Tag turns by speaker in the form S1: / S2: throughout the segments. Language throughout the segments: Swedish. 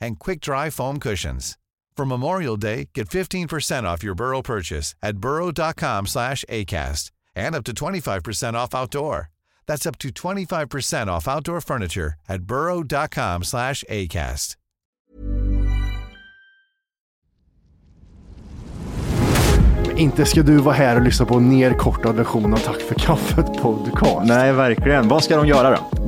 S1: and quick-dry foam cushions. For Memorial Day, get 15% off your Burrow purchase at burrow.com/acast and up to 25% off outdoor. That's up to 25% off outdoor furniture at burrow.com/acast.
S2: Inte ska du vara här och lyssna på en nerkortad version av Tack för kaffet podcast.
S3: Nej, verkligen. Vad ska de göra då?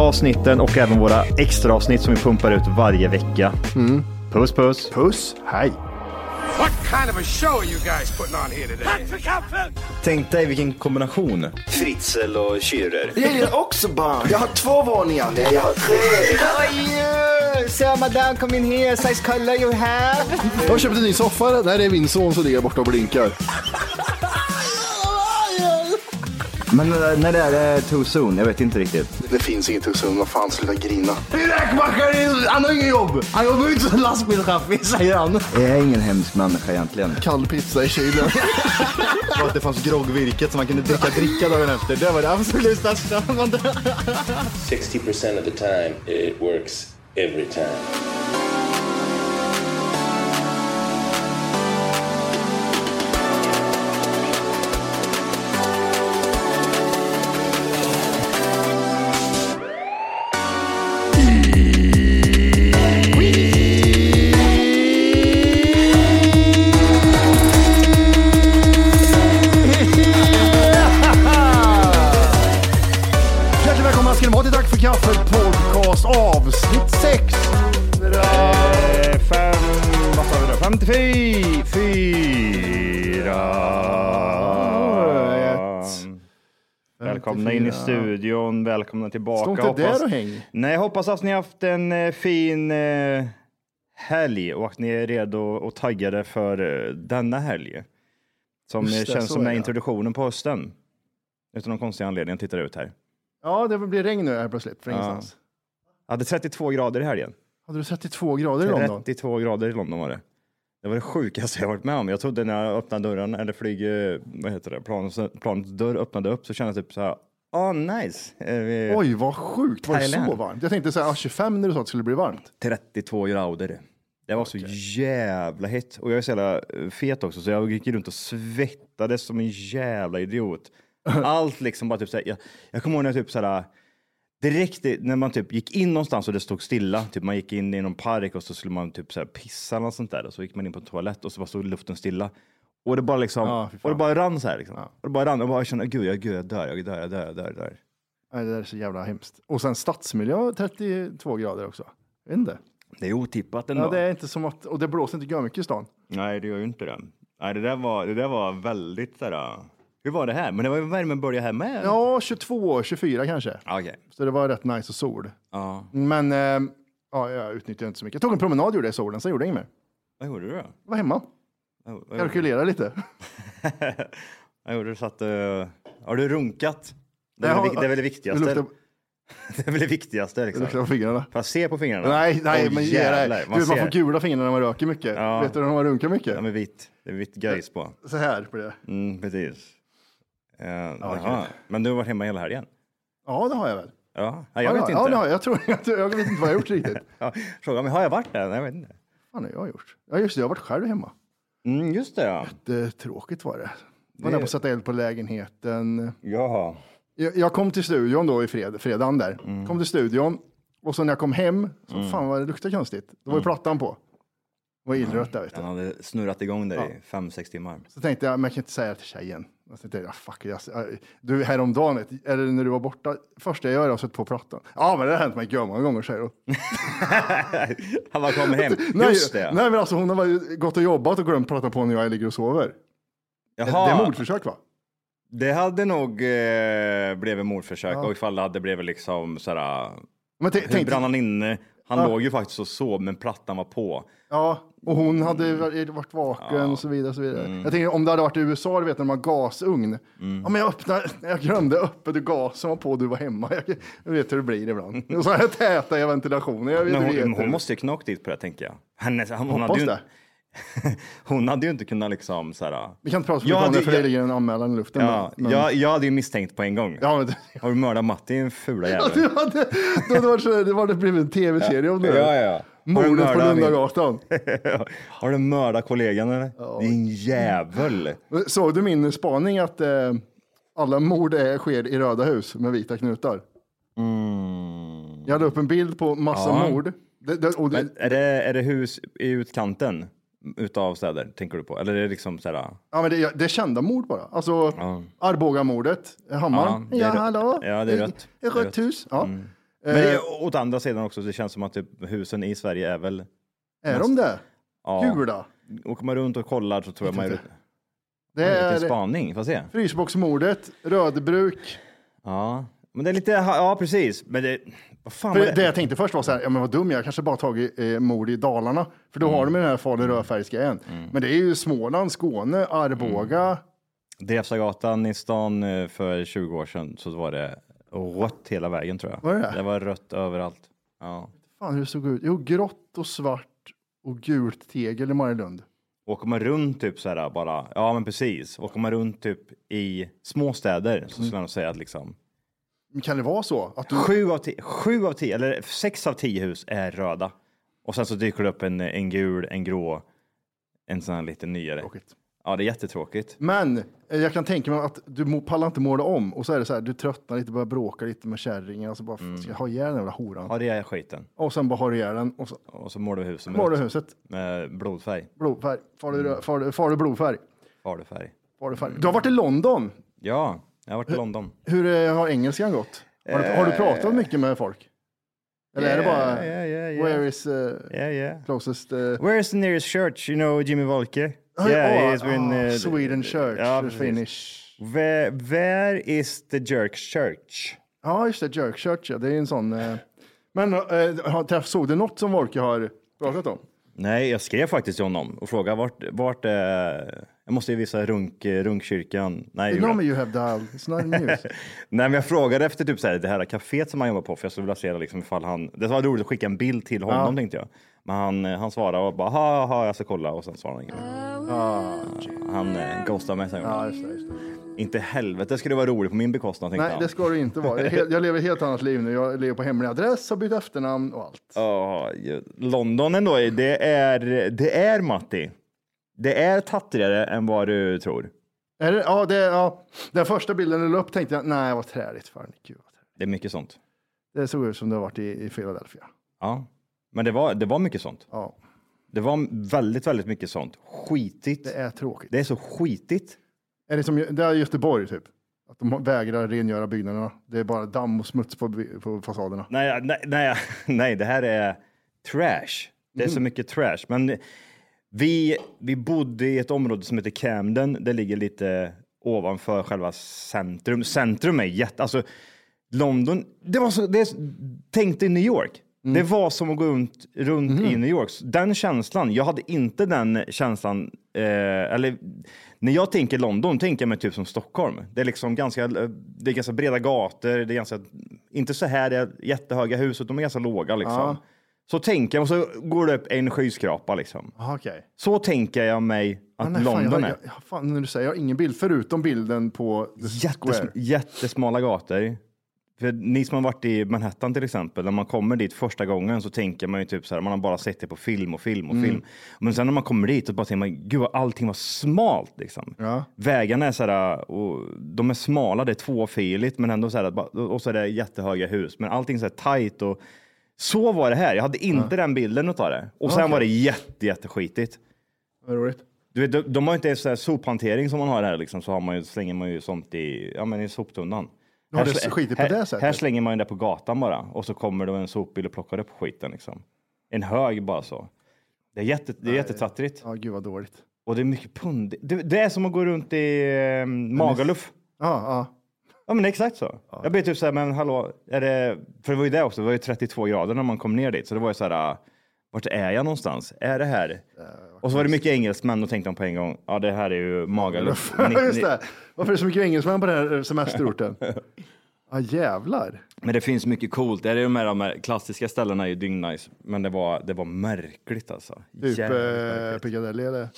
S3: avsnitten och även våra extra avsnitt som vi pumpar ut varje vecka. Puss puss.
S2: Puss, hej.
S4: What kind of a show are you guys putting on here today?
S3: Tänk dig vilken kombination.
S5: Fritzl och Schürrer.
S2: Jag gillar också barn. Jag har två våningar. Nej, jag har tre.
S3: Sir, madame, come in here. Size color you have.
S2: Jag har köpt en ny soffa. Nej, det är min son som ligger borta och blinkar.
S3: Men eh, när det är det too soon? Jag vet inte riktigt.
S2: Det finns inget hos honom. Vad fan, sluta grina. Räkmackaren, han har inget jobb. Han jobbar ju inte som lastbilschaffis, säger han.
S3: Jag är ingen hemsk människa egentligen.
S2: Kall pizza i kylen.
S3: Och att det fanns groggvirket som man kunde dricka dricka dagen efter. Det var det absolut största.
S5: 60% of the time, it works every time.
S2: Hjärtligt välkomna ska ni vara till Tack för kaffet podcast avsnitt 6.
S3: Fem, vad sa vi då? 54. Välkomna in i studion, välkomna tillbaka.
S2: Stå inte där och häng.
S3: Nej, hoppas att ni har haft en eh, fin eh, helg och att ni är redo och taggade för eh, denna helg. Som eh,
S2: Just det,
S3: känns
S2: så
S3: som
S2: är
S3: är
S2: det.
S3: introduktionen på hösten. Utan någon konstig anledning, jag tittar ut här.
S2: Ja, det blir regn nu här plötsligt från ingenstans.
S3: Jag hade 32 grader i helgen.
S2: Hade du 32 grader i London?
S3: 32 grader i London var det. Det var det sjukaste jag varit med om. Jag trodde när jag öppnade dörren, eller flyg, eh, vad heter det, planets, planets dörr öppnade upp så kände jag typ så här, åh nice. Eh, vi-
S2: Oj, vad sjukt. Var det så
S3: Thailand.
S2: varmt? Jag tänkte så här, ah, 25 när du sa att det skulle bli varmt.
S3: 32 grader. Det var så jävla hett. Och jag är så jävla eh, fet också, så jag gick runt och svettades som en jävla idiot. Allt liksom bara typ så här, jag, jag kommer ihåg när jag typ så här, direkt i- när man typ gick in någonstans och det stod stilla, typ man gick in i någon park och så skulle man typ så här pissa eller något sånt där och så gick man in på en toalett och så bara stod luften stilla. Och det bara liksom,
S2: Ja, fy fan.
S3: och det bara rann så här liksom. Och det bara rann och bara jag kände, gud, jag, gud, jag dör, jag dör, jag dör, jag dör, jag dör.
S2: Nej, det där är så jävla hemskt. Och sen stadsmiljö 32 grader också. Jag vet inte.
S3: Det är otippat ändå.
S2: Ja, det är inte som att, och det blåser inte mycket i stan.
S3: Nej, det gör ju inte det. Nej, det där var, det där var väldigt sådär... Hur var det här? Men det var ju värmen började här med.
S2: Ja, 22, 24 kanske.
S3: Okej.
S2: Så det var rätt nice och sol.
S3: Ja.
S2: Men eh, ja, jag utnyttjade inte så mycket. Jag tog en promenad gjorde jag i solen, sen gjorde jag inget mer.
S3: Vad gjorde du då?
S2: Jag var hemma,
S3: Vad- Vad gjorde du?
S2: kalkylerade lite.
S3: Vad gjorde du? Satt, eh, har du runkat? Det är,
S2: Jag
S3: väl
S2: har-
S3: vik- det är väl det viktigaste.
S2: luktar-
S3: Det är väl det viktigaste.
S2: Du klarar
S3: Liksom.
S2: fingrarna.
S3: Får jag se på fingrarna?
S2: Nej, nej,
S3: Åh,
S2: men ge
S3: jävlar,
S2: dig.
S3: Man,
S2: Du, man
S3: ser.
S2: får gula fingrar när man röker mycket.
S3: Ja.
S2: Vet du när man runkar mycket?
S3: Ja, men vit. Det är vitt gejs på.
S2: Så här på det.
S3: Mm, precis. Eh, jaha. Men du har varit hemma hela helgen?
S2: Ja, det har jag väl.
S3: Ja, Nej, jag
S2: ja,
S3: vet
S2: ja,
S3: inte.
S2: det har jag. Jag, tror, jag, tror- jag vet inte vad jag har gjort riktigt.
S3: Ja, fråga mig, har jag varit där? Nej, jag vet inte.
S2: Vad fan har jag gjort? Ja, just det, jag har varit själv hemma.
S3: Mm, just det, ja.
S2: Det, tråkigt var det. Man är på att sätta eld på lägenheten.
S3: Jaha.
S2: Jag, jag kom till studion då i fred, fredagen där.
S3: Mm.
S2: Kom till studion och så när jag kom hem, så fan vad det luktade konstigt. Då
S3: Mm.
S2: var ju plattan på. Det var illrött där vet du.
S3: Den hade snurrat igång där i fem, sex timmar.
S2: Så tänkte jag, men jag kan inte säga det till tjejen. Jag tänkte, ah, fuck, jag, du häromdagen, eller när du var borta, första jag gör är att sätta på plattan. Ja, men det har hänt mig många gånger, säger hon.
S3: Han bara kommer hem.
S2: Nej,
S3: Mm. Just det.
S2: nej, men alltså hon har bara gått och jobbat och glömt prata på när jag ligger och sover.
S3: Jaha.
S2: Det är mordförsök va?
S3: Det hade nog eh, blivit mordförsök och ifall det hade blivit liksom sådär.
S2: Men t-
S3: Hur
S2: tänk,
S3: brann han inne? Han låg ju faktiskt och sov men plattan var på.
S2: ja, och hon hade varit- varit vaken och så vidare. Så vidare.
S3: Mm.
S2: Jag tänker om det hade varit i USA, du vet när de har gasugn. Ja, men jag öppnade, jag glömde öppet och gasen var på och du var hemma. Jag, jag vet hur det blir ibland. Och så här tätar jag ventilationen. Jag vet,
S3: Men
S2: vet
S3: hon,
S2: hur-
S3: hon måste ju knaka dit på det tänker jag. Hennes, hon, hon, hade
S2: Hoppas
S3: ju,
S2: det.
S3: hon hade ju inte kunnat liksom såhär.
S2: Vi kan inte prata för
S3: Ja,
S2: mycket om det,
S3: det-
S2: för det
S3: jag-
S2: ligger en anmälan i luften.
S3: Ja,
S2: men, men,
S3: jag, jag hade ju misstänkt på en gång.
S2: ja, men,
S3: Har du mördat Matti din fula jävel?
S2: du hade, du hade varit så, det hade blivit en tv-serie om det.
S3: Ja, ja.
S2: Mordet på
S3: mördat min-
S2: Lundagatan.
S3: Har du mördat kollegan eller? Din jävel.
S2: Såg du min spaning att eh, alla mord är, sker i röda hus med vita knutar? Jag hade upp en bild på massa
S3: Mm. Ja.
S2: mord. Det, det, och det,
S3: Men är, det, är det hus i utkanten utav städer tänker du på? Eller är det liksom sådär?
S2: ja, men det, det är kända mord bara. Alltså Arbogamordet, eh, Hammar.
S3: Ja, det
S2: Ja,
S3: är rött.
S2: hallå?
S3: Ja, det är rött.
S2: Ett
S3: Det är
S2: rött
S3: rött. Mm.
S2: hus. Ja.
S3: Men det
S2: Eh.
S3: är, åt andra sidan också, det känns som att typ, husen i Sverige är väl...
S2: Är de det?
S3: Ja.
S2: Gula.
S3: Åker man runt och kollar så tror jag man... Vilken
S2: Det är
S3: spaning, får jag se.
S2: frysboxmordet, Rödbruk.
S3: Ja, men det är lite... Ja, precis. Men det... Vad fan
S2: För
S3: var
S2: det, jag tänkte först var så här, ja men vad dum jag är. kanske bara tagit eh, mord i Dalarna. För då har de ju den här farlig rödfärgsgrejen. Men det är ju Småland, Skåne, Arboga.
S3: Drevsagatan i stan eh, för 20 år sedan så var det rött hela vägen tror jag.
S2: Var det det?
S3: det var rött överallt. Ja.
S2: Fan hur det såg ut. Jo, grått och svart och gult tegel i Marielund.
S3: Åker man runt typ så här bara, ja men precis. Åker man runt typ i småstäder så skulle jag nog säga att liksom
S2: Men Kan det vara så? Att du...
S3: Sju av, tio, sju av tio, eller sex av tio hus är röda. Och sen så dyker det upp en, en gul, en grå, en sån här lite nyare.
S2: Tråkigt.
S3: Ja, det är jättetråkigt.
S2: Men eh, jag kan tänka mig att du må- pallar inte måla om och så är det så här, du tröttnar lite, börjar bråka lite med kärringen och så bara, "Fan, ska jag ha ihjäl den jävla horan?
S3: Ja, det är skiten.
S2: Och sen bara har du ihjäl den och så
S3: Och så målar vi husen
S2: målar du
S3: rött
S2: huset,
S3: med blodfärg,
S2: blodfärg, farlig, rö- farlig, farlig blodfärg.
S3: farfärg.
S2: Farlig färg. Du har varit i London.
S3: Ja, jag har varit i London.
S2: Hur eh, har engelskan gått? Har du, har du pratat mycket med folk? Eller är det bara
S3: Eh. Yeah, yeah, yeah, yeah.
S2: where is eh,
S3: Yeah, yeah.
S2: closest? eh,
S3: Where is the nearest church? You know Jimmy Wolke?
S2: Ah, ah,
S3: he's been,
S2: ah,
S3: eh,
S2: Sweden Church,
S3: ja,
S2: eh,
S3: precis.
S2: Finnish.
S3: Where, where is the Jerk Church?
S2: Ja, just det, Jerk Church, ja. det är en sån. eh, Men eh, har- träff- såg du något som Wolke har pratat om?
S3: Nej, jag skrev faktiskt till honom och frågade vart, vart eh, jag måste ju visa runk, runkkyrkan. Nej,
S2: You
S3: gjorde jag
S2: know me you have dialed, it's not news.
S3: Nej, men jag frågade efter typ så här, det här kaféet som han jobbar på, för jag skulle vilja se det, liksom, ifall han... Det var roligt att skicka en bild till honom, tänkte jag. Men han, eh, han svarade och bara, ha, ha, jag ska kolla, och sen svarade han inget. Han eh, ghostade mig
S2: Ah.
S3: sen.
S2: ja, just det, just det.
S3: Inte helvete ska det vara roligt på min bekostnad, tänkte
S2: Nej,
S3: han.
S2: det ska det inte vara. Jag är helt- Jag lever ett helt annat liv nu. Jag lever på hemlig adress, har bytt efternamn och allt.
S3: Ja, London ändå, det är, det är Matti. Det är tattrigare än vad du tror.
S2: Är det, ja, det, ja. Den första bilden du la upp tänkte jag, nej, vad träligt. Fan, gud, vad träligt.
S3: Det är mycket sånt.
S2: Det såg ut som det har varit i, i Philadelphia.
S3: Ja, men det var, det var mycket sånt.
S2: Ja,
S3: Det var väldigt, väldigt mycket sånt. Skitigt.
S2: det är tråkigt.
S3: Det är så skitigt.
S2: Är det som det är Göteborg typ? Att de vägrar rengöra byggnaderna. Det är bara damm och smuts på, by- på fasaderna.
S3: Nej, nej, nej, nej, det här är trash. Det
S2: Mm.
S3: är så mycket trash. Men vi, vi bodde i ett område som heter Camden. Det ligger lite ovanför själva centrum. Centrum är jätte... Alltså, London... Det var så, det, är- tänk dig New York. Det var som att gå runt, runt i New York. Den känslan. Jag hade inte den känslan. Eh, eller, när jag tänker eh, London tänker jag mig typ som Stockholm. Det är liksom ganska, det är ganska breda gator. Det är ganska Inte så här det är jättehöga hus, utan de är ganska låga liksom. Så tänker jag, och så går det upp en skyskrapa liksom.
S2: Jaha, okej.
S3: Så tänker jag mig att
S2: Ja, nej, fan,
S3: London
S2: jag,
S3: är.
S2: jag, jag, fan, när du säger jag har ingen bild förutom bilden på The
S3: Jättes,
S2: Square.
S3: jättesmala gator. För ni som har varit i Manhattan till exempel, när man kommer dit första gången så tänker man ju typ så här, man har bara sett det på film och film
S2: Mm.
S3: och film. Men sen när man kommer dit så bara tänker man, gud vad allting var smalt liksom.
S2: Ja.
S3: Vägarna är så här, och de är smala, det är tvåfiligt, men ändå så här, bara- och så är det jättehöga hus. Men allting så här tajt och så var det här. Jag hade inte den bilden utav det. Och sen var det jätte, jätteskitigt.
S2: Vad roligt.
S3: Du vet, de, de har inte ens så här sophantering som man har här, liksom, så har man ju, slänger man ju sånt i, ja, men i soptunnan.
S2: Ja, det är skitigt på
S3: här,
S2: det sättet.
S3: här slänger man ju det på gatan bara och så kommer det en sopbil och plockar upp skiten. Liksom. En hög bara så. Det är, jätte, det är jättetrattrigt.
S2: Ja, gud vad dåligt.
S3: Och det är mycket pund. Det, det är som att gå runt i eh, Magaluf.
S2: Ja, ja.
S3: Ja men exakt så. Jag blev typ så här, men hallå, är det... För det var ju det också, det var ju 32 grader när man kom ner dit. Så det var ju så här, ah, vart är jag någonstans? Är det här?
S2: Eh,
S3: och så var det mycket engelsmän, och tänkte de på en gång, ja det här är ju Magaluf.
S2: Just det. Varför är det så mycket engelsmän på den här semesterorten? Ja, ah, jävlar.
S3: Men det finns mycket coolt. Det är de här, de här klassiska ställena är ju dyngnice. Men det var, det var märkligt alltså.
S2: Typ
S3: Jävligt
S2: eh,
S3: märkligt.
S2: Piccadilly eller?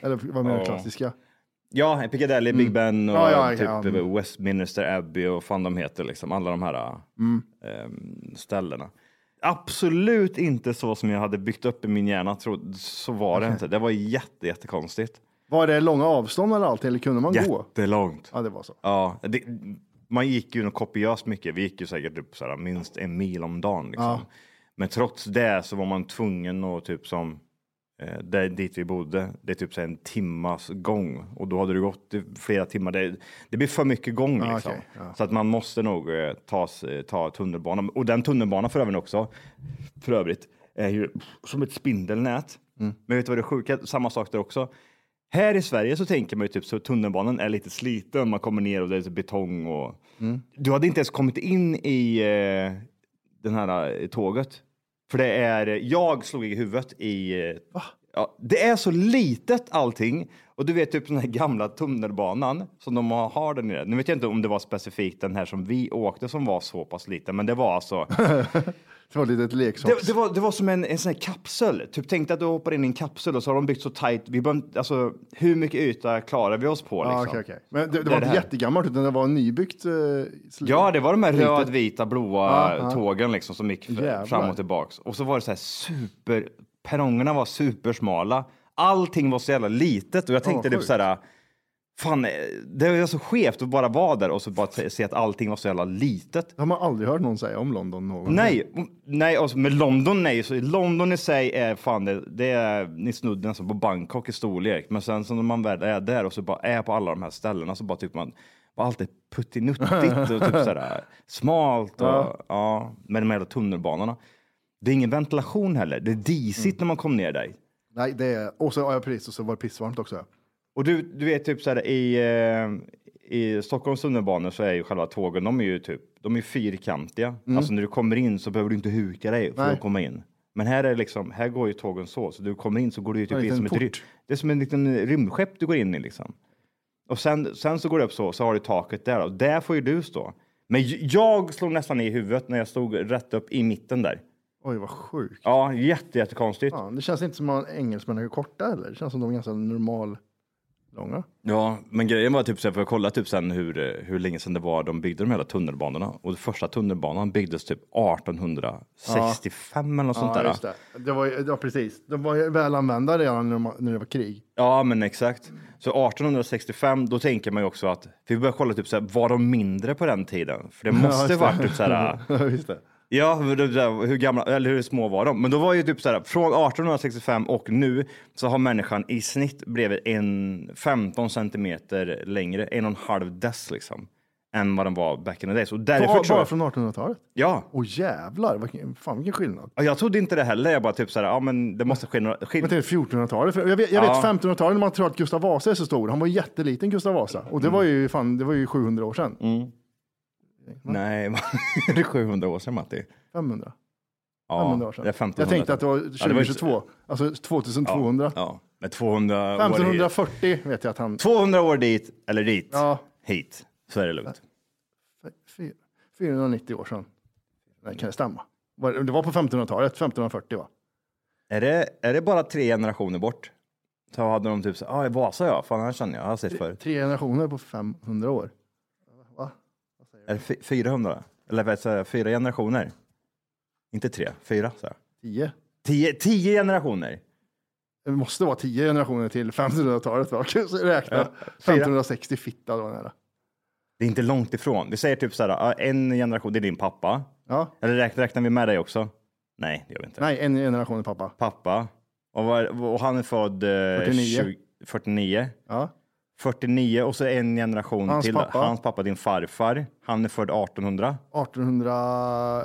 S2: Eller vad menar du,
S3: Ja.
S2: klassiska?
S3: Ja, Piccadilly, Big Ben och
S2: Ja, Mm. ja,
S3: typ
S2: ja,
S3: Westminster Abbey och fan de heter liksom. Alla de här
S2: Mm.
S3: ehm, ställena. Absolut inte så som jag hade byggt upp i min hjärna. Tro, så var det inte. Det var jätte, jättekonstigt.
S2: Var det långa avstånd eller allting, eller kunde man gå?
S3: Jättelångt.
S2: Ja, det var så.
S3: Ja, det, man gick ju nog kopiöst mycket. Vi gick ju säkert upp så här, minst en mil om dagen. Liksom. Men trots det så var man tvungen att typ som eh, där, dit vi bodde, det är typ så här en timmas gång och då hade det gått i flera timmar. Det, det blir för mycket gång
S2: Ja,
S3: liksom.
S2: Ah, okej, ja.
S3: Så att man måste nog eh, ta, s- eh, ta tunnelbanan. Och den tunnelbanan för övrigt också, för övrigt, är ju som ett spindelnät.
S2: Mm.
S3: Men vet du vad det sjuka? Samma sak där också. Här i Sverige så tänker man ju typ så tunnelbanan är lite sliten. Man kommer ner och det är så betong och
S2: Mm.
S3: du hade inte ens kommit in i eh, den här eh, tåget. För det är, eh, jag slog i huvudet i... eh, Ja, det är så litet allting. Och du vet typ den här gamla tunnelbanan som de har- har där nere. Nu vet jag inte om det var specifikt den här som vi åkte som var så pass liten, men det var alltså.
S2: Det var lite ett leksaks...
S3: Det, det, var, det var som en, en sån här kapsel. Typ tänkte att du hoppar in i en kapsel och så har de byggt så tajt. Vi behöver- alltså, hur mycket yta klarar vi oss på? Liksom?
S2: Ja, okej, okej. Men det, det
S3: Det
S2: var
S3: är
S2: inte
S3: det här.
S2: jättegammalt, utan det var nybyggt. Eh, sl-
S3: Ja, det var de här
S2: Litet.
S3: rödvita, blåa tågen liksom som gick f-
S2: Jävlar.
S3: fram och tillbaks. Och så var det så här super... Perrongerna var supersmala. Allting var så jävla litet och jag tänkte
S2: Ja,
S3: typ så här... Fan, eh, det var så skevt att bara vara där och så bara se se att allting var så jävla litet.
S2: Det har man aldrig hört någon säga om London någon
S3: Nej, och- nej, alltså, men London nej. Så London i sig är fan, det, det är, ni snudden alltså på Bangkok i storlek. Men sen så när man väl är där och så bara är på alla de här ställena så bara tycker man, bara allt är puttinuttigt och typ sådär smalt och ja. med de här jävla tunnelbanorna. Det är ingen ventilation heller. Det är disigt när man kommer ner där.
S2: Nej, det är... Och så, ja, precis, och så var det pissvarmt också.
S3: Och du, du vet typ så här i, eh, i Stockholms tunnelbanor så är ju själva tågen, de är ju typ, de är fyrkantiga. Alltså när du kommer in så behöver du inte huka dig för
S2: Mm. Nej.
S3: att komma in. Men här är det liksom, här går ju tågen så, så du kommer in så går du ju
S2: En
S3: typ in
S2: liten
S3: som ett, ry-
S2: port.
S3: det är som en liten rymdskepp du går in i liksom. Och sen, sen så går det upp så, så har du taket där och där får ju du stå. Men j- jag slog nästan i huvudet när jag stod rätt upp i mitten där.
S2: Oj, vad sjukt.
S3: Ja, jätte, jättekonstigt.
S2: Fan, det känns inte som att engelsmännen är korta heller. Det känns som de är ganska normal långa.
S3: Ja, men grejen var typ så här, för jag kollade typ sen hur, eh, hur länge sedan det var de byggde de hela tunnelbanorna. Och den första tunnelbanan byggdes typ 1865 eller något sånt
S2: Ja,
S3: där.
S2: just det. det var, ju- ja, precis. De var ju väl använda redan när, de, när det var krig.
S3: Ja, men exakt. Så 1865, då tänker man ju också att, för vi börjar kolla typ så här, var de mindre på den tiden? För det måste varit typ så här,
S2: Just det.
S3: ja, hur- det där- hur gamla, eller hur små var de? Men då var ju typ så här, från 1865 och nu så har människan i snitt blivit en 15 centimeter längre, en och en halv dess liksom, än vad de var back in the days. Och därför
S2: Bara,
S3: tror
S2: bara
S3: jag,
S2: från 1800-talet?
S3: ja.
S2: Åh jävlar, vilken, fan vilken skillnad.
S3: Ja, Jag trodde inte det heller. Jag bara typ så här, ja men det måste ske några...
S2: Men
S3: Skill-
S2: det är 1400-talet. för Jag vet, jag
S3: Ja.
S2: vet 1500-talet när man tror att Gustav Vasa är så stor. Han var ju jätteliten Gustav Vasa. Och
S3: Mm.
S2: det var ju, fan, det var ju 700 år sedan.
S3: Nej, det är 700 år sedan Matti.
S2: 500.
S3: Ja,
S2: 500 år sedan.
S3: Det är 1500.
S2: jag tänkte att det var 2022.
S3: Ja,
S2: Alltså
S3: det var ju-
S2: 2200.
S3: Ja, men 200 år hit.
S2: 1540 vet jag att han...
S3: 200 år dit, eller dit.
S2: Ja.
S3: Hit. Så är det lugnt.
S2: Fy- 490 år sedan. Nej, kan det stämma? Var- Det var på 1500-talet, 1540 va?
S3: Är det, är det bara tre generationer bort? Så hade de typ så ja ah, Vasa ja, fan här känner jag, jag har sett förut.
S2: Tre generationer på 500 år.
S3: Är det fy- 400? Eller vad säger jag, fyra generationer? Inte tre, fyra sa jag.
S2: 10.
S3: Tio, tio generationer?
S2: Det måste vara 10 generationer till 1500-talet va? Kan jag Räkna.
S3: Ja, fyra.
S2: 1560 fitta då nära.
S3: Det är inte långt ifrån. Vi säger typ så här, ah, en generation, det är din pappa.
S2: Ja.
S3: Eller räknar, räknar vi med dig också? Nej, det gör vi inte.
S2: Nej, en generation pappa.
S3: Pappa. Och, var, och han är född eh,
S2: 49.
S3: 20, 49.
S2: Ja.
S3: 49 och så en generation
S2: Hans
S3: till.
S2: pappa.
S3: Hans pappa, din farfar. Han är född 1890.
S2: 1800...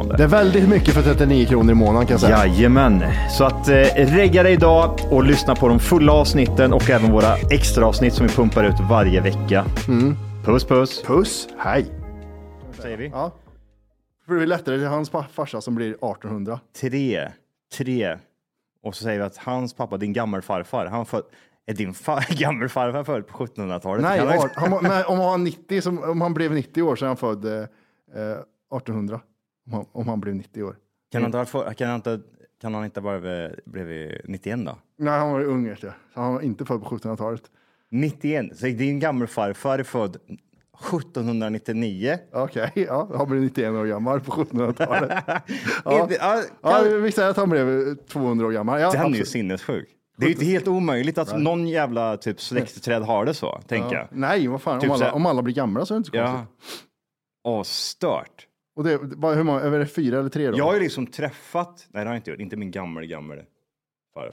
S3: det.
S2: Det är väldigt mycket för 39 kronor i månaden kan jag säga.
S3: Jajamän, så att eh, regga dig idag och lyssna på de fulla avsnitten och även våra extra avsnitt som vi pumpar ut varje vecka. Puss puss!
S2: Puss, hej.
S3: Säger vi.
S2: Ja. För det blir lättare, det är hans pa- farsa som blir 1800.
S3: Tre, tre. Och så säger vi att hans pappa, din gammelfarfar, han född... Är din fa- gammelfarfar född på 1700-talet?
S2: Nej,
S3: Kan han-
S2: ar- han, var- nej om, han 90, som, om han blev 90 år så är han född eh, eh, 1800. Om han, om han blev 90 år.
S3: Kan han inte ha varit för- kan han inte, kan han inte ha varit blivit 91 då?
S2: Nej, han var ju ung vet jag. Så han var inte född på 1700-talet.
S3: 91, så din gammelfarfar är född 1799.
S2: Okej, ja, han blev 91 år gammal på 1700-talet.
S3: Ja.
S2: Ja.
S3: Ja,
S2: Ja,
S3: kan-
S2: vi säger att han blev 200 år gammal. Ja,
S3: Den är ju
S2: absolut.
S3: sinnessjuk. Det är ju inte helt omöjligt att någon jävla typ släktträd har det så, tänker jag.
S2: Nej, vad fan,
S3: Typ
S2: om,
S3: så
S2: alla,
S3: här-
S2: om alla blir gamla så är det inte så
S3: Ja.
S2: konstigt.
S3: Åh, stört.
S2: Och det, vad- hur många, är det fyra eller tre då?
S3: Jag har ju liksom träffat, nej det har jag inte gjort, inte min gammel gammel farfar.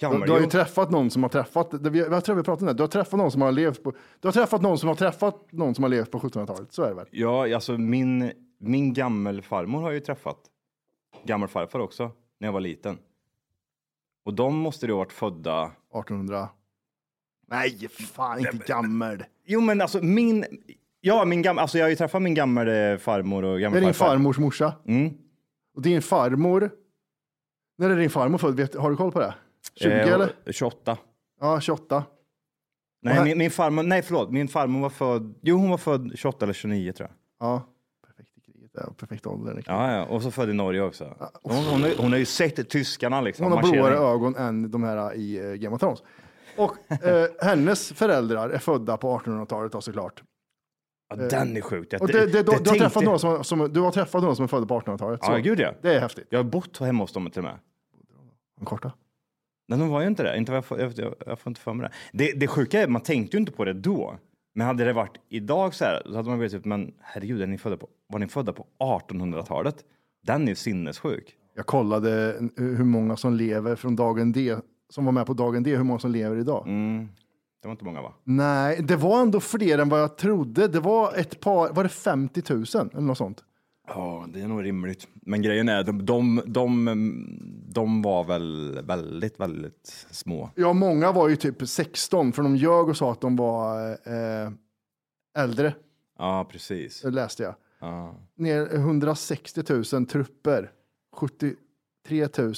S2: du,
S3: Gammel,
S2: du har ju
S3: jo.
S2: träffat någon som har träffat, det, vi, jag tror vi pratade om det, du har träffat någon som har levt på, du har träffat någon som har träffat någon som har levt på 1700-talet, så är det väl?
S3: Ja, alltså min, min gammelfarmor har jag ju träffat. Gammelfarfar också, när jag var liten. Och de måste ju ha varit födda
S2: 1800. Nej, fan inte gammel.
S3: Jo, men alltså min... Ja, min gam... alltså, jag har ju träffat min gammal eh, farmor och
S2: Det är din
S3: gammelfarfar.
S2: farmors morsa.
S3: Mm.
S2: Och din farmor, när är din farmor född? Vet, har du koll på det? 20
S3: Eh,
S2: eller?
S3: 28.
S2: Ja, 28. Och
S3: Nej,
S2: här-
S3: min, min farmor, nej förlåt, min farmor var född, jo hon var född 28 eller 29 tror jag.
S2: Ja, perfekt i kriget, ja, perfekt ålder.
S3: Ja, ja, och så född i Norge också. Hon, hon, har, ju- hon har ju sett tyskarna liksom.
S2: Hon har
S3: marschera
S2: blåare
S3: in.
S2: ögon än de här i eh, Game of Thrones. Och eh, hennes föräldrar är födda på 1800-talet då såklart.
S3: Ja, den är sjukt. Jag-
S2: Och det, det, du, du, har
S3: tänkte-
S2: träffat någon som, som, du har träffat någon som är född på 1800-talet.
S3: Ja,
S2: så
S3: gud ja.
S2: Det är häftigt.
S3: Jag har bott hemma hos dem till och med.
S2: De korta.
S3: Nej, de var ju inte det. Inte vad jag, får, jag, jag, jag får inte för mig det. det. Det sjuka är, man tänkte ju inte på det då. Men hade det varit idag så här, så hade man blivit typ, men herregud, är ni födda på, var ni födda på 1800-talet? Den är ju sinnessjuk.
S2: Jag kollade eh, hur många som lever från dagen D, som var med på dagen D, hur många som lever idag.
S3: Mm. Det var inte många va?
S2: Nej, det var ändå fler än vad jag trodde. Det var ett par, var det 50 000 eller något sånt?
S3: Ja, det är nog rimligt. Men grejen är, de, de, de, de var väl väldigt, väldigt små.
S2: Ja, många var ju typ 16, för de ljög och sa att de var eh, äldre,
S3: Ja, precis.
S2: det läste jag.
S3: Ja.
S2: ner 160 000 trupper. 73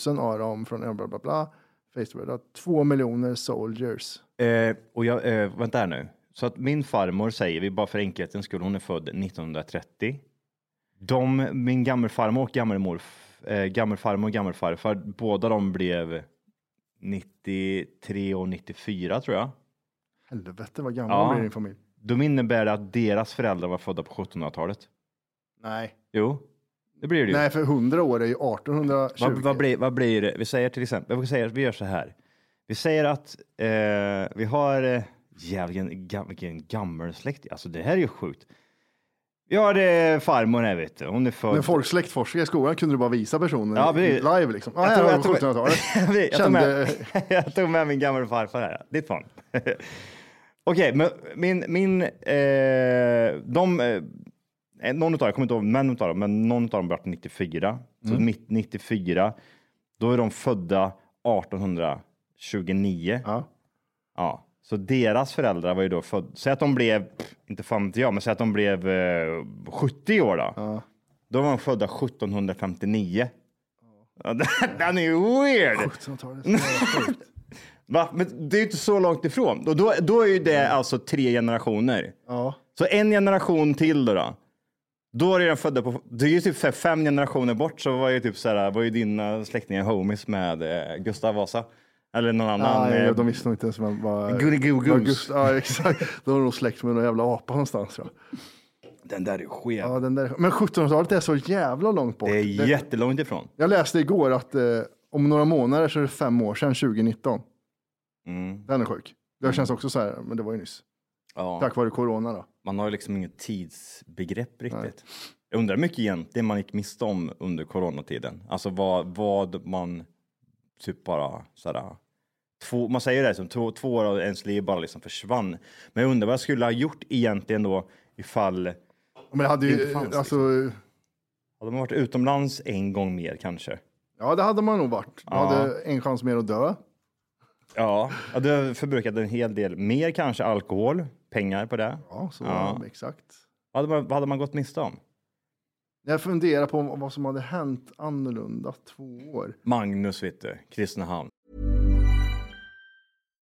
S2: 000 av dem från bla bla bla. Facebook. 2 miljoner soldiers.
S3: Eh, och jag, eh, vänta här nu. Så att min farmor säger vi bara för enkelhetens skull, hon är född 1930. De, min gammelfarmor och gammelmor, eh, gammelfarmor och gammelfarfar, båda de blev 93 och 94 tror jag.
S2: Helvete vad gammal
S3: Ja.
S2: blir din familj.
S3: De innebär att deras föräldrar var födda på 1700-talet.
S2: Nej.
S3: Jo, det blir det ju.
S2: Nej, för 100 år är ju 1820.
S3: Vad, vad, blir, vad blir det? Vi säger till exempel, vi, säger, vi gör så här. Vi säger att eh, vi har, eh, jävlar vilken, vilken gammal släkt. Alltså det här är ju sjukt. Vi har eh, farmor här vet du, hon är
S2: När
S3: född.
S2: folk släktforskade i skolan kunde du bara visa personen
S3: Ja, precis.
S2: live liksom. Ja,
S3: Jag
S2: här
S3: tog-
S2: har
S3: jag
S2: vi
S3: tog-
S2: 1700-talet.
S3: jag, tog
S2: Kände-
S3: med, jag tog med min gamla farfar här, ditt barn. Okej, men min, min, eh, de, eh, någon utav, jag kommer inte ihåg vem utav dem, men någon utav dem vart 94. Så
S2: Mm.
S3: mitt 94, då är de födda 1829.
S2: Ja.
S3: Ja, så deras föräldrar var ju då födda, säg att de blev, pff, inte fan vet jag, men säg att de blev eh, 70 år då. Då var de födda 1759. Ja. Den är ju weird!
S2: 1700-talet. Ja, sjukt.
S3: Va? Men det är ju inte så långt ifrån. Och då, då är ju det alltså tre generationer.
S2: Ja.
S3: Så en generation till då. Då, då är de födda på... Det är ju typ så här fem generationer bort så var ju typ så här, var ju dina släktingar homies med eh, Gustav Vasa. Eller någon annan.
S2: Nej,
S3: eh,
S2: de visste nog inte ens vem var...
S3: Goody-goo-goose.
S2: var Gust- Ja, exakt. De var nog släkt med någon jävla apa någonstans. tror jag.
S3: Den där är skev.
S2: Ja, den där. Men 1700-talet är så jävla långt bort.
S3: det är
S2: Det-
S3: jättelångt ifrån.
S2: Jag läste igår att eh, om några månader så är det fem år sedan 2019. Den är sjuk. Det känns också så här, men det var ju nyss.
S3: Mm. Ja.
S2: Tack vare corona då.
S3: Man har ju liksom inget tidsbegrepp riktigt. Jag undrar hur mycket egentligen man gick miste om under coronatiden. Alltså vad, vad man typ bara sådär. Två, man säger det som två, två år av ens liv bara liksom försvann. Men jag undrar vad jag skulle ha gjort egentligen då ifall
S2: Men det hade
S3: Det
S2: ju,
S3: fanns liksom.
S2: alltså,
S3: hade man varit utomlands en gång mer kanske.
S2: ja det hade man nog varit. Man hade en chans mer att dö.
S3: Ja, jag hade förbrukat en hel del mer kanske alkohol, pengar på det.
S2: Ja, så exakt.
S3: Vad hade man, vad hade man gått miste om?
S2: Jag funderar på vad som hade hänt annorlunda två år.
S3: Magnus vet du, Kristinehamn.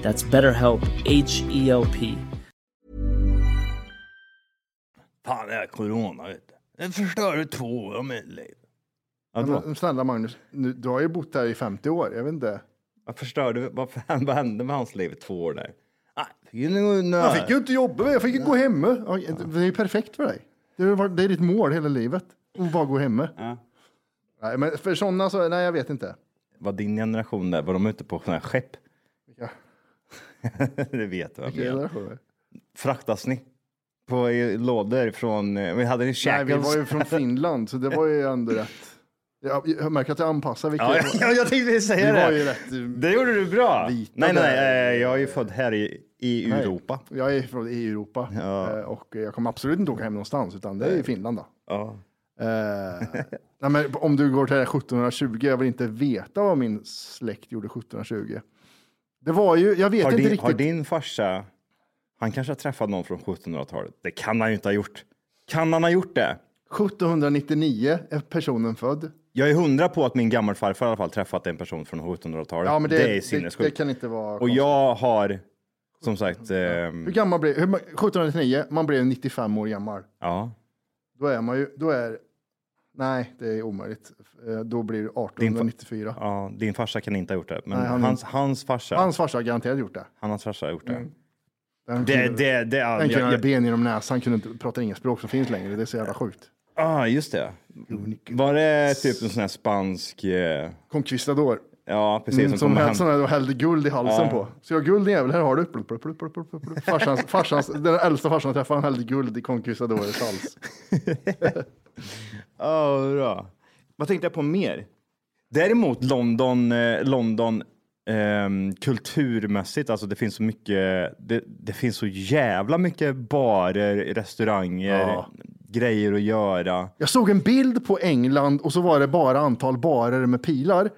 S6: That's BetterHelp, H E L P.
S3: Fan, det här corona vet du. Det förstör två år av mitt liv. Ja, då.
S2: Men, snälla Magnus, nu, du har ju bott här i 50 år. Jag vet inte.
S3: Vad förstörde, vad, fan, vad hände med hans liv i två år där? Ah, fick ju nu- nu-
S2: Jag fick ju inte jobba, jag fick ju gå hemma. Ja, Det är ju perfekt för dig. Det är, det är ditt mål hela livet. Att bara gå hemma. Nej, men för sådana så, nej jag vet inte.
S3: Var din generation där, var de ute på sådana här skepp? det vet du. vad jag
S2: Det är
S3: menar.
S2: generationer.
S3: Fraktas ni? På i lådor från, eh, vi hade en
S2: Nej, vi
S3: shackles.
S2: var ju från Finland, så det var ju ändå rätt. Jag, jag märker att jag anpassar vilket.
S3: ja, ja, ja, jag tänkte säga
S2: Vi
S3: det.
S2: var ju rätt-
S3: Det gjorde du bra. Nej,
S2: Lite
S3: nej, nej,
S2: där.
S3: eh, jag är ju född här i, i Europa.
S2: Jag är från EU-Europa eh, och jag kommer absolut inte åka hem någonstans, utan det är i Finland då.
S3: Ja.
S2: Eh, nej, men om du går till det här 1720, jag vill inte veta vad min släkt gjorde 1720. Det var ju, jag vet
S3: Har,
S2: inte
S3: din,
S2: riktigt.
S3: har din farsa, han kanske har träffat någon från 1700-talet. Det kan han ju inte ha gjort. Kan han ha gjort det?
S2: 1799 är personen född.
S3: Jag är hundra på att min gammelfarfar i alla fall träffat en person från 1700-talet.
S2: Ja, men det,
S3: är
S2: det, det
S3: sinnessjukt.
S2: kan inte vara
S3: Och
S2: konstigt.
S3: jag har, som sagt,
S2: Hur
S3: ehm,
S2: gammal blev, hur, ma- 1799, man blev 95 år gammal.
S3: ja,
S2: Då är man ju, då är, nej det är omöjligt. Eh, Då blir det 1894.
S3: ja, din farsa kan inte ha gjort det. Men
S2: Nej, han-
S3: hans, hans farsa,
S2: Hans Mm. farsa har garanterat gjort det.
S3: hans farsa har gjort det.
S2: Den
S3: Det,
S2: killen-
S3: det, det, ja,
S2: den killen
S3: jag,
S2: hade
S3: jag,
S2: ben genom näsan, kunde inte prata inget språk som finns längre. Det är så jävla sjukt.
S3: ah, just det. Var det typ en sån här spansk, eh,
S2: Conquistador.
S3: ja precis,
S2: Mm,
S3: som,
S2: som
S3: kom
S2: häll,
S3: hem.
S2: sån här, hällde guld i halsen på. Så jag guld jävel, här har du. Plup, plup, plup, plup, plup, plup. Farsans, farsans, den äldsta farsan jag träffade, han hällde guld i Conquistadores hals.
S3: Ja, vad bra. Vad tänkte jag på mer? Däremot London, eh, London ehm, kulturmässigt, alltså det finns så mycket, det, det finns så jävla mycket barer, restauranger, grejer att göra.
S2: Jag såg en bild på England och så var det bara antal barer med pilar.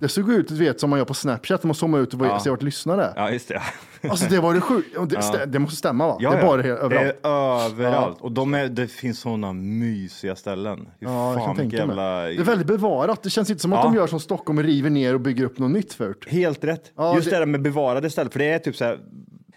S2: Det såg ut du vet, som man gör på Snapchat, när man zoomar ut och ser vart lyssnare är.
S3: Mm. Ja, just det.
S2: Alltså det var det sjukt. Det, stä- det måste stämma va?
S3: Ja,
S2: det är
S3: ja.
S2: bara helt,
S3: Det
S2: överallt.
S3: är överallt. Och de är, det finns sådana mysiga ställen. Fy
S2: Ja, jag kan
S3: fan, vilka
S2: tänka mig.
S3: jävla...
S2: Det är väldigt bevarat. Det känns inte som att
S3: Ja.
S2: de gör som Stockholm och river ner och bygger upp något nytt förut.
S3: Helt rätt.
S2: Ja,
S3: Just
S2: det-
S3: det där med bevarade ställen, för det är typ så här.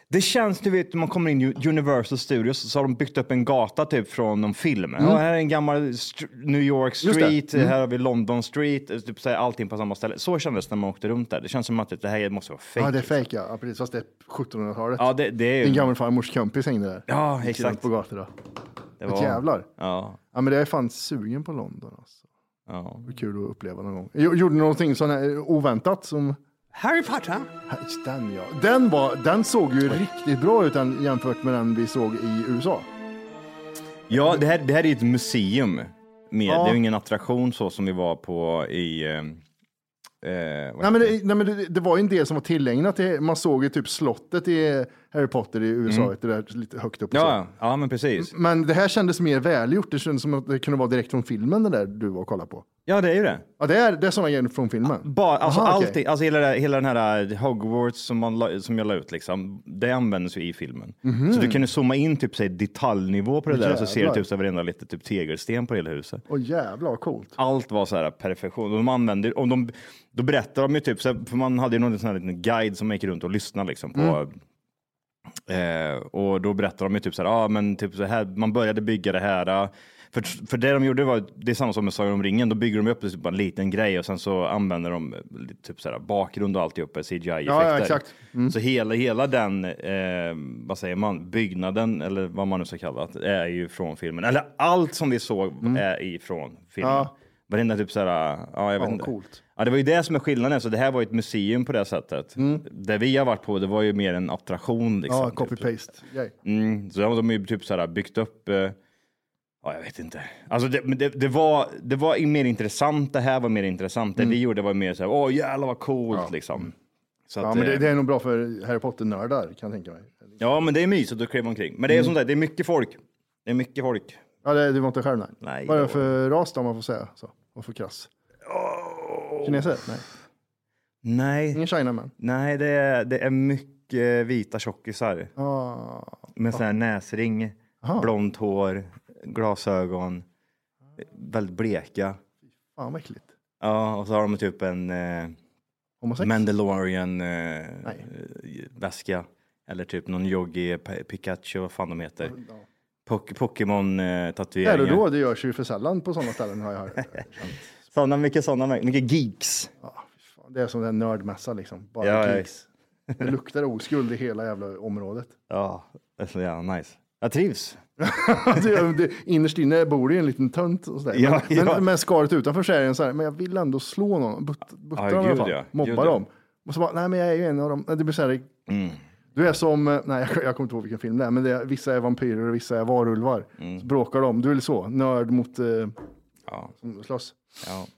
S3: Det känns, du vet, när man kommer in i Universal Studios så har de byggt upp en gata typ från någon film. Ja, här är en gammal str- New York
S2: Mm. det. Mm.
S3: Street, här har vi London Street, eh, typ så här, allting på samma ställe. Så kändes det när man åkte runt där. Det känns som att det här måste vara fake. liksom.
S2: Ja, det är fejk ja. ja. Precis, fast det är 1700-talet.
S3: Ja, det, det är
S2: Din gammelfarmors kompis hängde där.
S3: Ja,
S2: Gick runt
S3: exakt.
S2: På gator då.
S3: Det
S2: Ett jävlar.
S3: Ja,
S2: Ja, men det är fan sugen på London alltså.
S3: ja.
S2: Det är kul att uppleva någon gång. Jag gjorde någonting sån här oväntat som
S4: Harry Potter.
S2: Här, Den ja. Den, var, den såg ju riktigt bra ut den, jämfört med den vi såg i USA.
S3: Ja, det här, det här är ju ett museum. Med.
S2: Ja.
S3: Det är ju ingen attraktion så som vi var på i... Eh, eh, vad
S2: Nej, men det, nej, men det, det var ju en del som var tillägnat. Till, man såg ju typ slottet i Harry Potter i USA, det där lite högt upp. och så.
S3: Mm. Ja, ja, men precis.
S2: Men det här kändes mer välgjort. Det kändes som att det kunde vara direkt från filmen det där du var och kollade på.
S3: Ja, det är ju det.
S2: Ja, det är, det är sådana grejer från filmen.
S3: Bara, alltså,
S2: Aha, okej.
S3: allting, alltså hela, det- hela den här eh, Hogwarts som, man, la- som jag la ut, liksom, det användes ju i filmen. Så du kan ju zooma in typ så här, detaljnivå på det där och så ser du
S2: Mhm. Jävlar.
S3: typ så här, varenda lite typ tegelsten på hela huset.
S2: Åh jävlar vad coolt.
S3: Allt var så här perfektion. Och de använde, och de, då berättar de ju typ, så här, för man hade ju någon sån här liten guide som man gick runt och lyssnade liksom på.
S2: Mm.
S3: Eh, och då berättar de ju typ så här, ah, men typ så här, man började bygga det här. ah. För, för det de gjorde var, det är samma som med Sagan om ringen, då bygger de upp det typ bara en liten grej och sen så använder de eh, lite typ så här, bakgrund och eh, alltihopa, CGI-effekter.
S2: Ja, ja, exakt.
S3: Så hela, hela den, eh, vad säger man, byggnaden eller vad man nu ska kalla det, är ju från filmen. Eller allt som vi såg är ifrån filmen.
S2: Mm. Ja.
S3: Varenda typ så här, ja jag vet
S2: Ja,
S3: inte.
S2: coolt.
S3: Ja, det var ju det som är skillnaden, så det här var ju ett museum på det sättet. Det vi har varit på, det var ju mer en attraktion. Liksom,
S2: Mm. Ja,
S3: typ.
S2: copy-paste. grej.
S3: Mm, så de har ju typ så här byggt upp, eh, ja jag vet inte. Alltså det, men det, det, var, det var ju mer intressant, det här var mer intressant. Det
S2: Mm.
S3: vi gjorde var mer så här, åh jävlar vad coolt liksom. Så
S2: Ja,
S3: att,
S2: men det,
S3: eh,
S2: det är nog bra för Harry Potter-nördar kan jag tänka mig.
S3: ja men det är mysigt att kliva omkring. Men det är som sagt, det är mycket folk. Det är mycket folk.
S2: Ja, det, du var inte själv nej.
S3: Nej,
S2: Vad är det
S3: jag-
S2: för ras då, om man får säga så? Vad för krass? Kineser? Nej.
S3: Nej,
S2: Ingen Chinaman?
S3: nej det, är, det är mycket vita tjockisar.
S2: Ah.
S3: Med sån här näsring, blont hår, glasögon, väldigt bleka.
S2: Fan vad äckligt.
S3: Ja, och så har de typ en eh,
S2: Homosex?
S3: Mandalorian-väska. eller typ någon Yogi P- Pikachu, vad fan de heter. eh, Pok-
S2: det är
S3: Pokémon-tatueringar.
S2: det då, det görs ju för sällan på sådana ställen har jag hört.
S3: Sådana, mycket sådana, märken, mycket geeks.
S2: Fan, Det är som en nördmässa liksom. Bara
S3: Ja, ja.
S2: geeks. Det luktar oskuld i hela jävla området.
S3: Ja, det är så jävla nice. Jag trivs.
S2: Alltså, jag- det, innerst inne bor det ju en liten tönt och sådär. Men,
S3: Ja, ja.
S2: men, men skaret utanför så är det en så här, men jag vill ändå slå någon. But, butta
S3: Ja,
S2: dem i alla
S3: gud,
S2: fall.
S3: ja.
S2: Mobba
S3: Gud, ja. Mm.
S2: dem. Och så bara, nej men jag är ju en av dem. Det blir så här, Du är som, eh, nej jag, jag kommer inte ihåg vilken film det är, men det är, vissa är vampyrer och vissa är varulvar. Så bråkar de. Du är väl så, nörd mot eh,
S3: Mm. Ja.
S2: som slåss.
S3: Ja. Mm-hmm.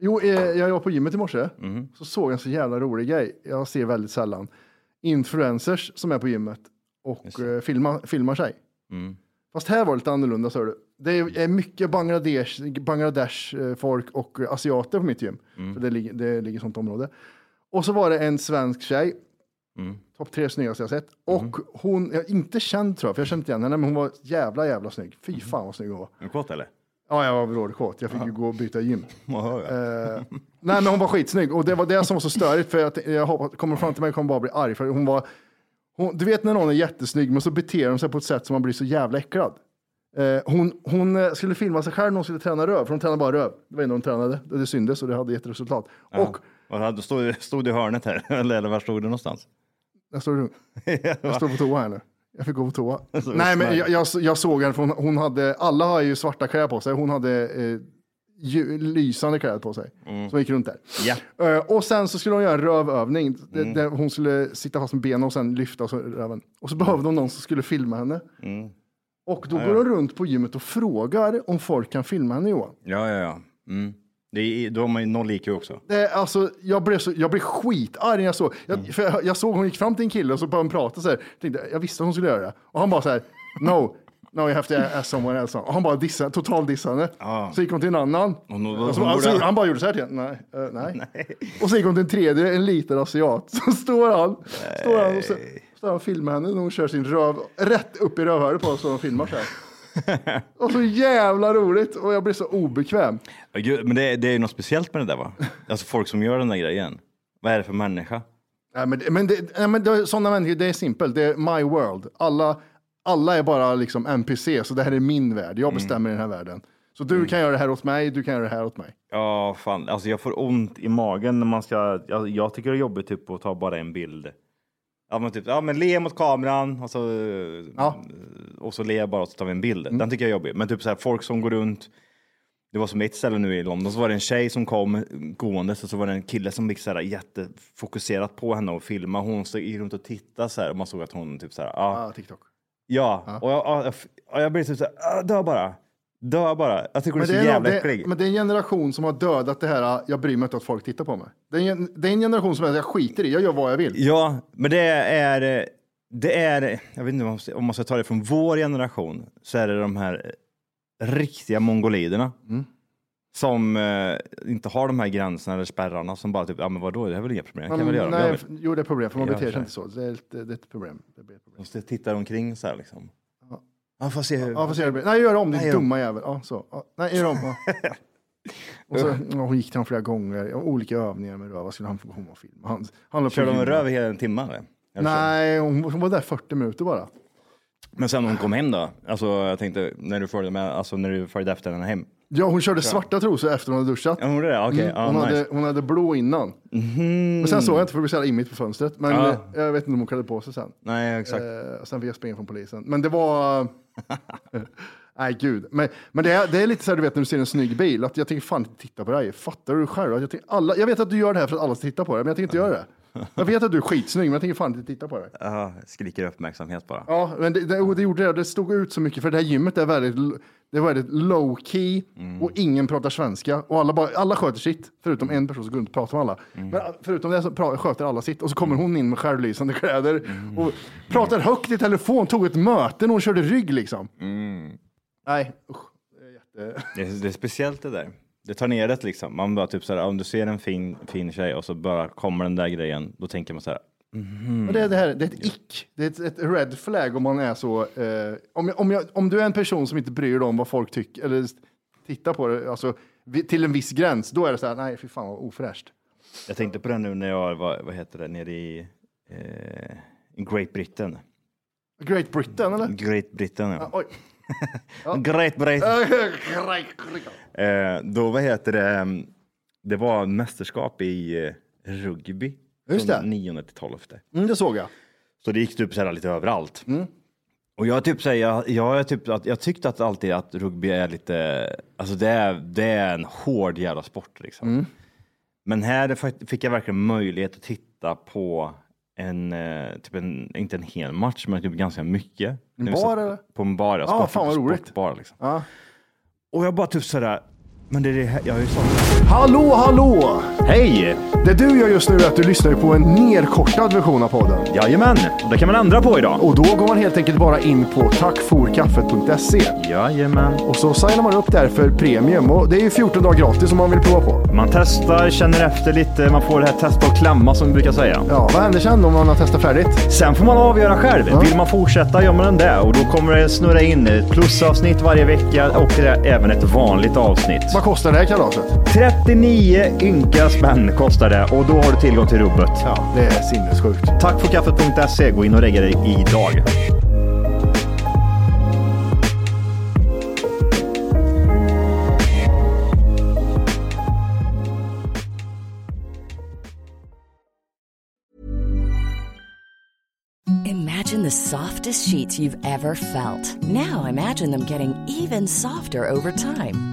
S2: Jo, eh, jag var på gymmet i morse. Så såg jag en så jävla rolig grej. Jag ser väldigt sällan influencers som är på gymmet och eh, filmar, filmar sig. Fast här var det lite annorlunda, sa du. Det är är mycket Bangladesh, Bangladesh eh, folk och eh, asiater på mitt gym. För det, ligger, det ligger i sånt område. Och så var det en svensk tjej. Topp tre snyggaste jag sett. Och hon, jag är inte känd tror jag, för jag kände inte igen henne, men hon var jävla jävla snygg. Fy fan vad snygg hon var.
S3: Är du kåt eller?
S2: Ja, jag var vrålkåt. Jag fick ju gå och byta gym.
S3: Ja, ja.
S2: Eh, nej, men hon var skitsnygg och det var det som var så störigt för jag, t- jag hoppas- kommer fram till mig kommer bara bli arg för hon var. Hon, du vet när någon är jättesnygg men så beter de sig på ett sätt som man blir så jävla äcklad. Eh, hon, hon eh, skulle filma sig själv när hon skulle träna röv, för hon tränade bara röv. Det var ändå hon tränade, och det syndes och det hade gett resultat. Och,
S3: Vad hade- Stod, stod du i hörnet här? Eller, eller var stod du någonstans?
S2: jag står, jag står på toa här nu. Jag fick gå på toa.
S3: var
S2: Nej, men
S3: snäll.
S2: jag, jag, jag såg henne, för hon, hon hade, alla har ju svarta kläder på sig. Hon hade eh, lju- lysande kläder på sig, som gick runt där.
S3: Mm. Ja. Mm.
S2: Eh, och sen så skulle hon göra en rövövning. Det- Där hon skulle sitta fast med benen och sen lyfta så röven. Och så behövde hon någon som skulle filma henne.
S3: Mm.
S2: Och då går hon runt på gymmet och frågar om folk kan filma henne Johan.
S3: Ja, ja, ja. Mm. Det är, då har man ju noll IQ också.
S2: Det, är- alltså, jag, blev så, jag blev skitarg när jag såg. Jag, för jag, jag såg hon gick fram till en kille och så började hon prata så här. Tänkte, jag visste att hon skulle göra det. Och han bara så här, no, No, you have to ask someone else. Och han bara dissade, total dissade. Så gick hon till en annan.
S3: Och nu-
S2: Ah. Och så, alltså, han bara gjorde så här till henne. nej, eh, nej. Och så gick hon till en tredje, en liten asiat. Så står han, står han och så, står han och filmar henne när hon kör sin röv rätt upp i rövhålet på oss och de filmar så här. Och så jävla roligt och jag blir så obekväm.
S3: Ja, gud, Men det, det är ju något speciellt med det där va? Alltså folk som gör den där grejen. Vad är det för människa?
S2: Nej, men, men, det, nej, men det, sådana människor, det är simpelt. Det är my world. Alla, alla är bara liksom NPC, så det här är min värld.
S3: Mm.
S2: Jag bestämmer i den här världen. Så du kan göra det här åt mig, du kan göra det här åt mig.
S3: Ja, fan. Alltså jag får ont i magen när man ska... Jag, jag tycker det är jobbigt typ att ta bara en bild. Ja men, typ, ja, men le mot kameran och så,
S2: Ja.
S3: Mm. och så ler jag bara och så tar vi en bild.
S2: Mm.
S3: Den tycker jag är jobbig. Men typ så här, folk som går runt. Det var som ett ställe nu i London så var det en tjej som kom gående så, så var det en kille som gick så här jättefokuserat på henne och filmade. Hon så- gick runt och tittade så här och man såg att hon typ så här. Ja,
S2: Ah, TikTok.
S3: ja. Och jag, ja, jag, ja, jag blir typ så här. ah, Dö bara. Dö bara. Jag tycker
S2: Men
S3: det
S2: det,
S3: är så
S2: är,
S3: jävla
S2: det,
S3: äckligt.
S2: men det är en generation som har dödat det här, äh, jag bryr mig inte att folk tittar på mig. Det är en, det är en generation som är, jag skiter i, jag gör vad jag vill.
S3: Ja, men det är, det är, jag vet inte om man ska- om man ska ta det från vår generation, så är det de här riktiga mongoliderna.
S2: Mm.
S3: Som eh, inte har de här gränserna eller spärrarna som bara typ, ja men vadå, det här är väl inga problem, jag kan väl göra vad jag
S2: Mm, nej,
S3: vill.
S2: jo, det är problem, för man
S3: Ja,
S2: beter sig
S3: så.
S2: inte så. Det är ett, det är ett problem. Det blir ett problem.
S3: De tittar omkring så här liksom. Ja, får se hur.
S2: Ja, får se hur det blir. Nej, gör om din
S3: Nej, gör om.
S2: dumma jävel. Ja, så. Ja, nej, gör om. Ja. Och så, ja, hon gick till honom flera gånger, ja, olika övningar med röva skulle han få komma och filma. Han, han la på
S3: Körde de
S2: gym.
S3: en röv i alltså? hela en timme eller? Eller så.
S2: Nej, hon, hon var där 40 minuter bara.
S3: Men sen när hon kom hem då, alltså jag tänkte när du följde med, alltså när du följde efter henne hem.
S2: Ja, hon körde svarta trosor efter hon hade duschat.
S3: Ja, hon gjorde det? Okej,
S2: Mm,
S3: ja,
S2: hon,
S3: nice. Mhm.
S2: hade, hon hade blå innan. Men sen såg jag inte för det blev så jävla immigt på fönstret. Men
S3: Ja.
S2: eh, jag vet inte om hon klädde på sig sen.
S3: Nej, exakt.
S2: Eh, sen fick jag springa från polisen. Men det var... eh, Nej, gud. Men, men det, är, det är lite så här, du vet när du ser en snygg bil, att jag tänker fan inte titta på dig. Fattar du själv? Att Jag, tänker, alla, jag vet att du gör det här för att alla ska titta på dig, men jag tänker inte göra det. Jag vet att du är skitsnygg, men jag tänker fan inte titta på dig.
S3: Ja, skriker uppmärksamhet bara.
S2: Ja, men det, det, och det gjorde det. Det stod ut så mycket, för det här gymmet är väldigt, l- det är väldigt low key och ingen pratar svenska. Och alla, bara, alla sköter sitt, förutom en person som går runt och pratar med alla. Men ah, förutom det så pra, sköter alla sitt. Och så kommer hon in med självlysande kläder och pratar högt i telefon, tog ett möte när hon körde rygg liksom. Nej, usch. Det är jätte...
S3: Det är, det är speciellt det där. Det tar ner det liksom. Man bara typ så här, om du ser en fin, fin tjej och så bara kommer den där grejen, då tänker man så här.
S2: Men det, är det, här, det är ett ick, det är ett, ett red flag om man är så. Eh, om, jag, om, jag, om du är en person som inte bryr dig om vad folk tycker eller s- tittar på det, alltså vi- till en viss gräns, då är det så här, nej fy fan vad ofräscht.
S3: Jag tänkte på det nu när jag var, vad heter det, nere i eh, Great Britain.
S2: Great Britain eller?
S3: Great Britain, ja.
S2: Oj.
S3: Great Britain.
S2: Great Britain.
S3: Eh, då, vad heter det, ehm, det var mästerskap i eh, rugby.
S2: Just
S3: från
S2: det.
S3: 9 till 12.
S2: Mm, det såg jag.
S3: Så det gick typ så här lite överallt.
S2: Mm.
S3: Och jag typ säger, jag, jag, är typ, att- jag tyckte att alltid att rugby är lite, alltså det är, det är en hård jävla sport liksom.
S2: Mm.
S3: Men här fa- fick jag verkligen möjlighet att titta på en, eh, typ en, inte en hel match, men typ ganska mycket. En
S2: bar, eller?
S3: På en bar, ja.
S2: Ah,
S3: Sport-
S2: fan, vad roligt.
S3: Sportbar liksom.
S2: Ja.
S3: Och jag bara typ sådär, men det är det här, jag är ju sån.
S2: Hallå, hallå!
S3: Hej!
S2: Det du gör just nu är att du lyssnar på en nerkortad version av podden.
S3: Jajamän, och det kan man ändra på idag.
S2: Och då går man helt enkelt bara in på tackforkaffet.se
S3: Jajamän.
S2: och så signar man upp där för premium och det är ju 14 dagar gratis om man vill prova på.
S3: Man testar, känner efter lite, man får det här testa och klämma som vi brukar säga.
S2: Ja, vad händer sen om man har testat färdigt?
S3: Sen får man avgöra själv. Vill man fortsätta gör man det och då kommer det snurra in ett plusavsnitt varje vecka och det är även ett vanligt avsnitt.
S2: Vad kostar det här kalaset?
S3: 39 ynka spänn kostar det och då har du tillgång till rubbet.
S2: Ja, det är sinnessjukt.
S3: Tack för kaffet.se. E. Gå in och lägg dig idag.
S7: Imagine the softest sheets you've ever felt. Now imagine them getting even softer over time.